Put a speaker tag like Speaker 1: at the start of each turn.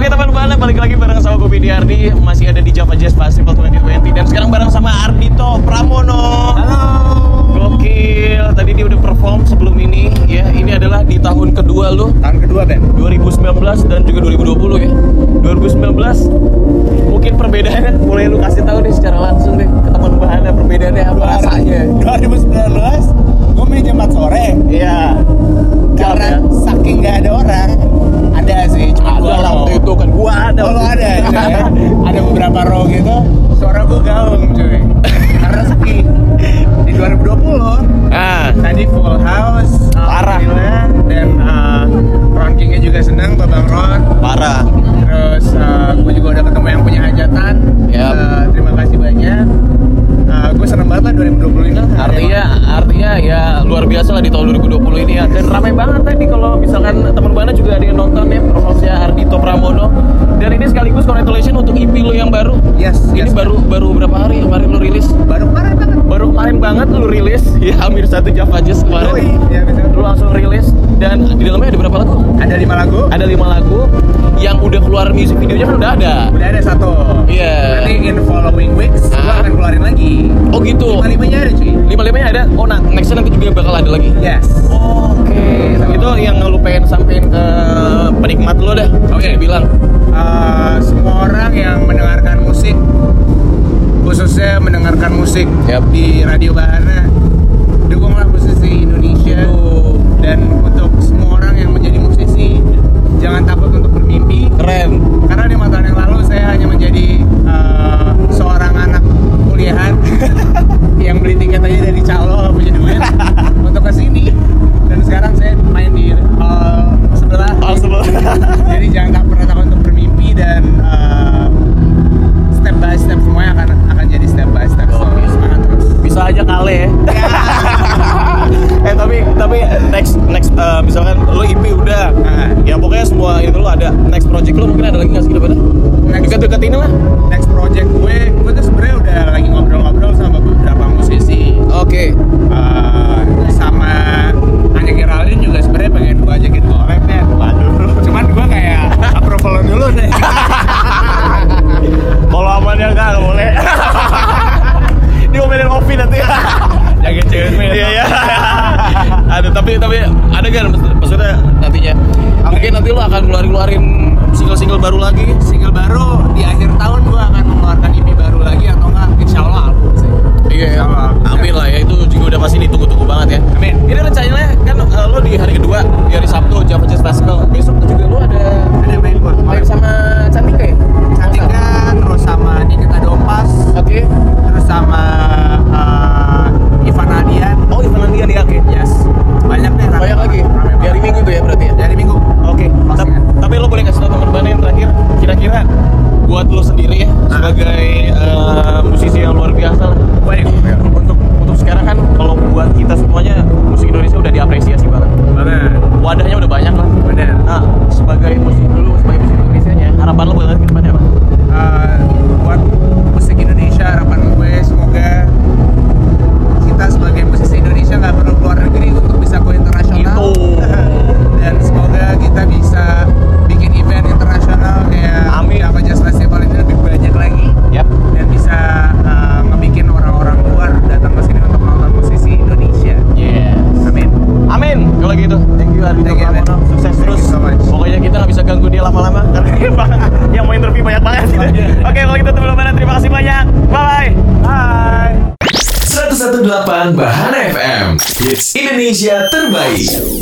Speaker 1: kita balik lagi bareng sama Kopi Ardi masih ada di Java Jazz Festival 2020 dan sekarang bareng sama Ardito Pramono.
Speaker 2: Halo.
Speaker 1: Gokil, tadi dia udah perform sebelum ini ya. Ini adalah di tahun kedua lu
Speaker 2: Tahun kedua Ben.
Speaker 1: 2019 dan juga 2020 ya. 2019 mungkin perbedaannya mulai lu kasih tahu deh secara langsung deh ke teman bahannya perbedaannya apa rasanya.
Speaker 2: 2019 gue meja 4 sore
Speaker 1: Iya. Karena
Speaker 2: karena saking nggak ada orang ada sih
Speaker 1: ya?
Speaker 2: cuma
Speaker 1: ada
Speaker 2: gua
Speaker 1: lah waktu itu kan gua ada.
Speaker 2: Oh, lo
Speaker 1: waktu
Speaker 2: ada
Speaker 1: itu.
Speaker 2: ya? ada beberapa row gitu suara gue gaung cuy karena sepi di 2020
Speaker 1: Ah,
Speaker 2: tadi full house
Speaker 1: Parah.
Speaker 2: alhamdulillah. dan uh, Ron Kingnya juga senang Babang Ron
Speaker 1: parah.
Speaker 2: terus gue juga udah ketemu yang punya hajatan
Speaker 1: Yap.
Speaker 2: Eh, terima kasih banyak gue seneng banget lah 2020 ini lah.
Speaker 1: Artinya artinya ya luar biasa lah di tahun 2020 ini ya. Dan ramai banget tadi kalau misalkan teman mana juga ada yang nonton ya performanya Ardito Pramono. Dan ini sekaligus congratulations untuk EP lo yang baru.
Speaker 2: yes,
Speaker 1: Ini
Speaker 2: yes.
Speaker 1: baru baru berapa hari kemarin lo rilis?
Speaker 2: baru kemarin banget
Speaker 1: Baru kemarin banget lo rilis ya hampir satu jam aja
Speaker 2: Yoi,
Speaker 1: kemarin.
Speaker 2: ya, betul.
Speaker 1: Lo langsung rilis dan di dalamnya ada berapa lagu?
Speaker 2: ada lima lagu
Speaker 1: Ada lima lagu yang udah keluar music videonya kan udah ada.
Speaker 2: udah ada satu
Speaker 1: Iya.
Speaker 2: nanti in following weeks gue
Speaker 1: Ah.
Speaker 2: akan keluarin lagi
Speaker 1: Oh gitu.
Speaker 2: lima limanya ada cuy
Speaker 1: Lima limanya ada. Oh nah nextnya nanti juga bakal ada lagi.
Speaker 2: yes
Speaker 1: Oke, itu yang lu pengen sampein ke penikmat lo dah. Bisa
Speaker 2: Oke.
Speaker 1: dibilang.
Speaker 2: Eh, semua orang yang mendengarkan musik khususnya mendengarkan musik
Speaker 1: Yap.
Speaker 2: di radio Bahana dukunglah musisi Indonesia dan untuk semua orang yang menjadi musisi jangan takut untuk bermimpi
Speaker 1: Keren.
Speaker 2: karena lima tahun yang lalu saya hanya menjadi eh, seorang anak kuliahan yang beli tiket aja dari calo punya duit untuk ke sini dan sekarang saya main di hall sebelah
Speaker 1: Hall Oh, sebelah.
Speaker 2: jadi jangan tak pernah takut untuk bermimpi dan eh, step by step semuanya akan akan jadi step by step so
Speaker 1: Oke.
Speaker 2: semangat terus
Speaker 1: Bisa aja kale ya. eh tapi tapi next next eh, misalkan lo IP udah.
Speaker 2: Ah.
Speaker 1: Ya pokoknya semua itu lo ada next project lo mungkin ada lagi nggak sih ke depannya?
Speaker 2: Next-
Speaker 1: Dekat-dekat ini lah.
Speaker 2: next project gue gue tuh sebenarnya udah lagi ngobrol-ngobrol sama beberapa musisi
Speaker 1: Oke.
Speaker 2: Eh, sama Anya Geraldine juga sebenarnya pengen gue ajakin collab ya
Speaker 1: Waduh.
Speaker 2: cuman gue kayak approval dulu deh
Speaker 1: Kalau amannya enggak nggak boleh. Diomelin Ovi nanti.
Speaker 2: jaga cewek ya.
Speaker 1: Iya iya. Aduh tapi tapi ada kan maksudnya nantinya. Mungkin nanti lo akan keluarin keluarin single single baru lagi.
Speaker 2: single baru di akhir tahun gue akan mengeluarkan EP baru lagi atau enggak insya Allah album sih
Speaker 1: Iya. Amin lah ya itu juga udah pasti ditunggu-tunggu banget ya.
Speaker 2: Amin.
Speaker 1: Ini rencananya kan eh, lo di hari kedua di hari Sabtu Java Jazz Festival. Besok juga lo ada
Speaker 2: ada main gue
Speaker 1: main sama Cantika ya.
Speaker 2: Cantika terus sama Nikita Dompas
Speaker 1: Oke.
Speaker 2: terus sama eh, Ivan Adian
Speaker 1: Oh itu nanti ya oke.
Speaker 2: yes banyak deh rame
Speaker 1: Banyak
Speaker 2: banget,
Speaker 1: lagi.
Speaker 2: rame
Speaker 1: Di hari
Speaker 2: banget.
Speaker 1: Minggu tuh ya berarti ya.
Speaker 2: dari minggu
Speaker 1: Oke,
Speaker 2: Pasti
Speaker 1: tap-
Speaker 2: kan?
Speaker 1: tapi lo boleh kasih tau teman mana yang terakhir kira-kira buat lo sendiri ya sebagai eh, musisi yang luar biasa lah.
Speaker 2: Baik.
Speaker 1: Untuk untuk sekarang kan kalau buat kita semuanya musik Indonesia udah diapresiasi banget.
Speaker 2: banget
Speaker 1: Wadahnya udah banyak lah.
Speaker 2: bener
Speaker 1: Nah, sebagai musik dulu sebagai musik Indonesia nya harapan lo buat ke depannya apa?
Speaker 2: Uh, buat musik Indonesia harapan gue semoga kita sebagai musisi Indonesia nggak perlu keluar negeri untuk bisa go internasional
Speaker 1: Itu.
Speaker 2: dan semoga kita bisa bikin event internasional kayak
Speaker 1: Amin.
Speaker 2: Java Jazz Festival ini lebih banyak lagi
Speaker 1: Yap.
Speaker 2: dan bisa uh, ngebikin orang-orang luar datang ke sini untuk nonton musisi Indonesia
Speaker 1: Yes.
Speaker 2: amin
Speaker 1: Amin. Kalau gitu, thank you Ardi
Speaker 2: Thank you,
Speaker 1: Pramono.
Speaker 2: man.
Speaker 1: Sukses
Speaker 2: Thank
Speaker 1: terus.
Speaker 2: you so much.
Speaker 1: Pokoknya kita nggak bisa ganggu dia lama-lama karena dia banget. yang mau interview banyak banget. Oke, kalau gitu teman-teman terima kasih banyak. Bye bye. Bye.
Speaker 3: 118 Bahana FM Hits Indonesia terbaik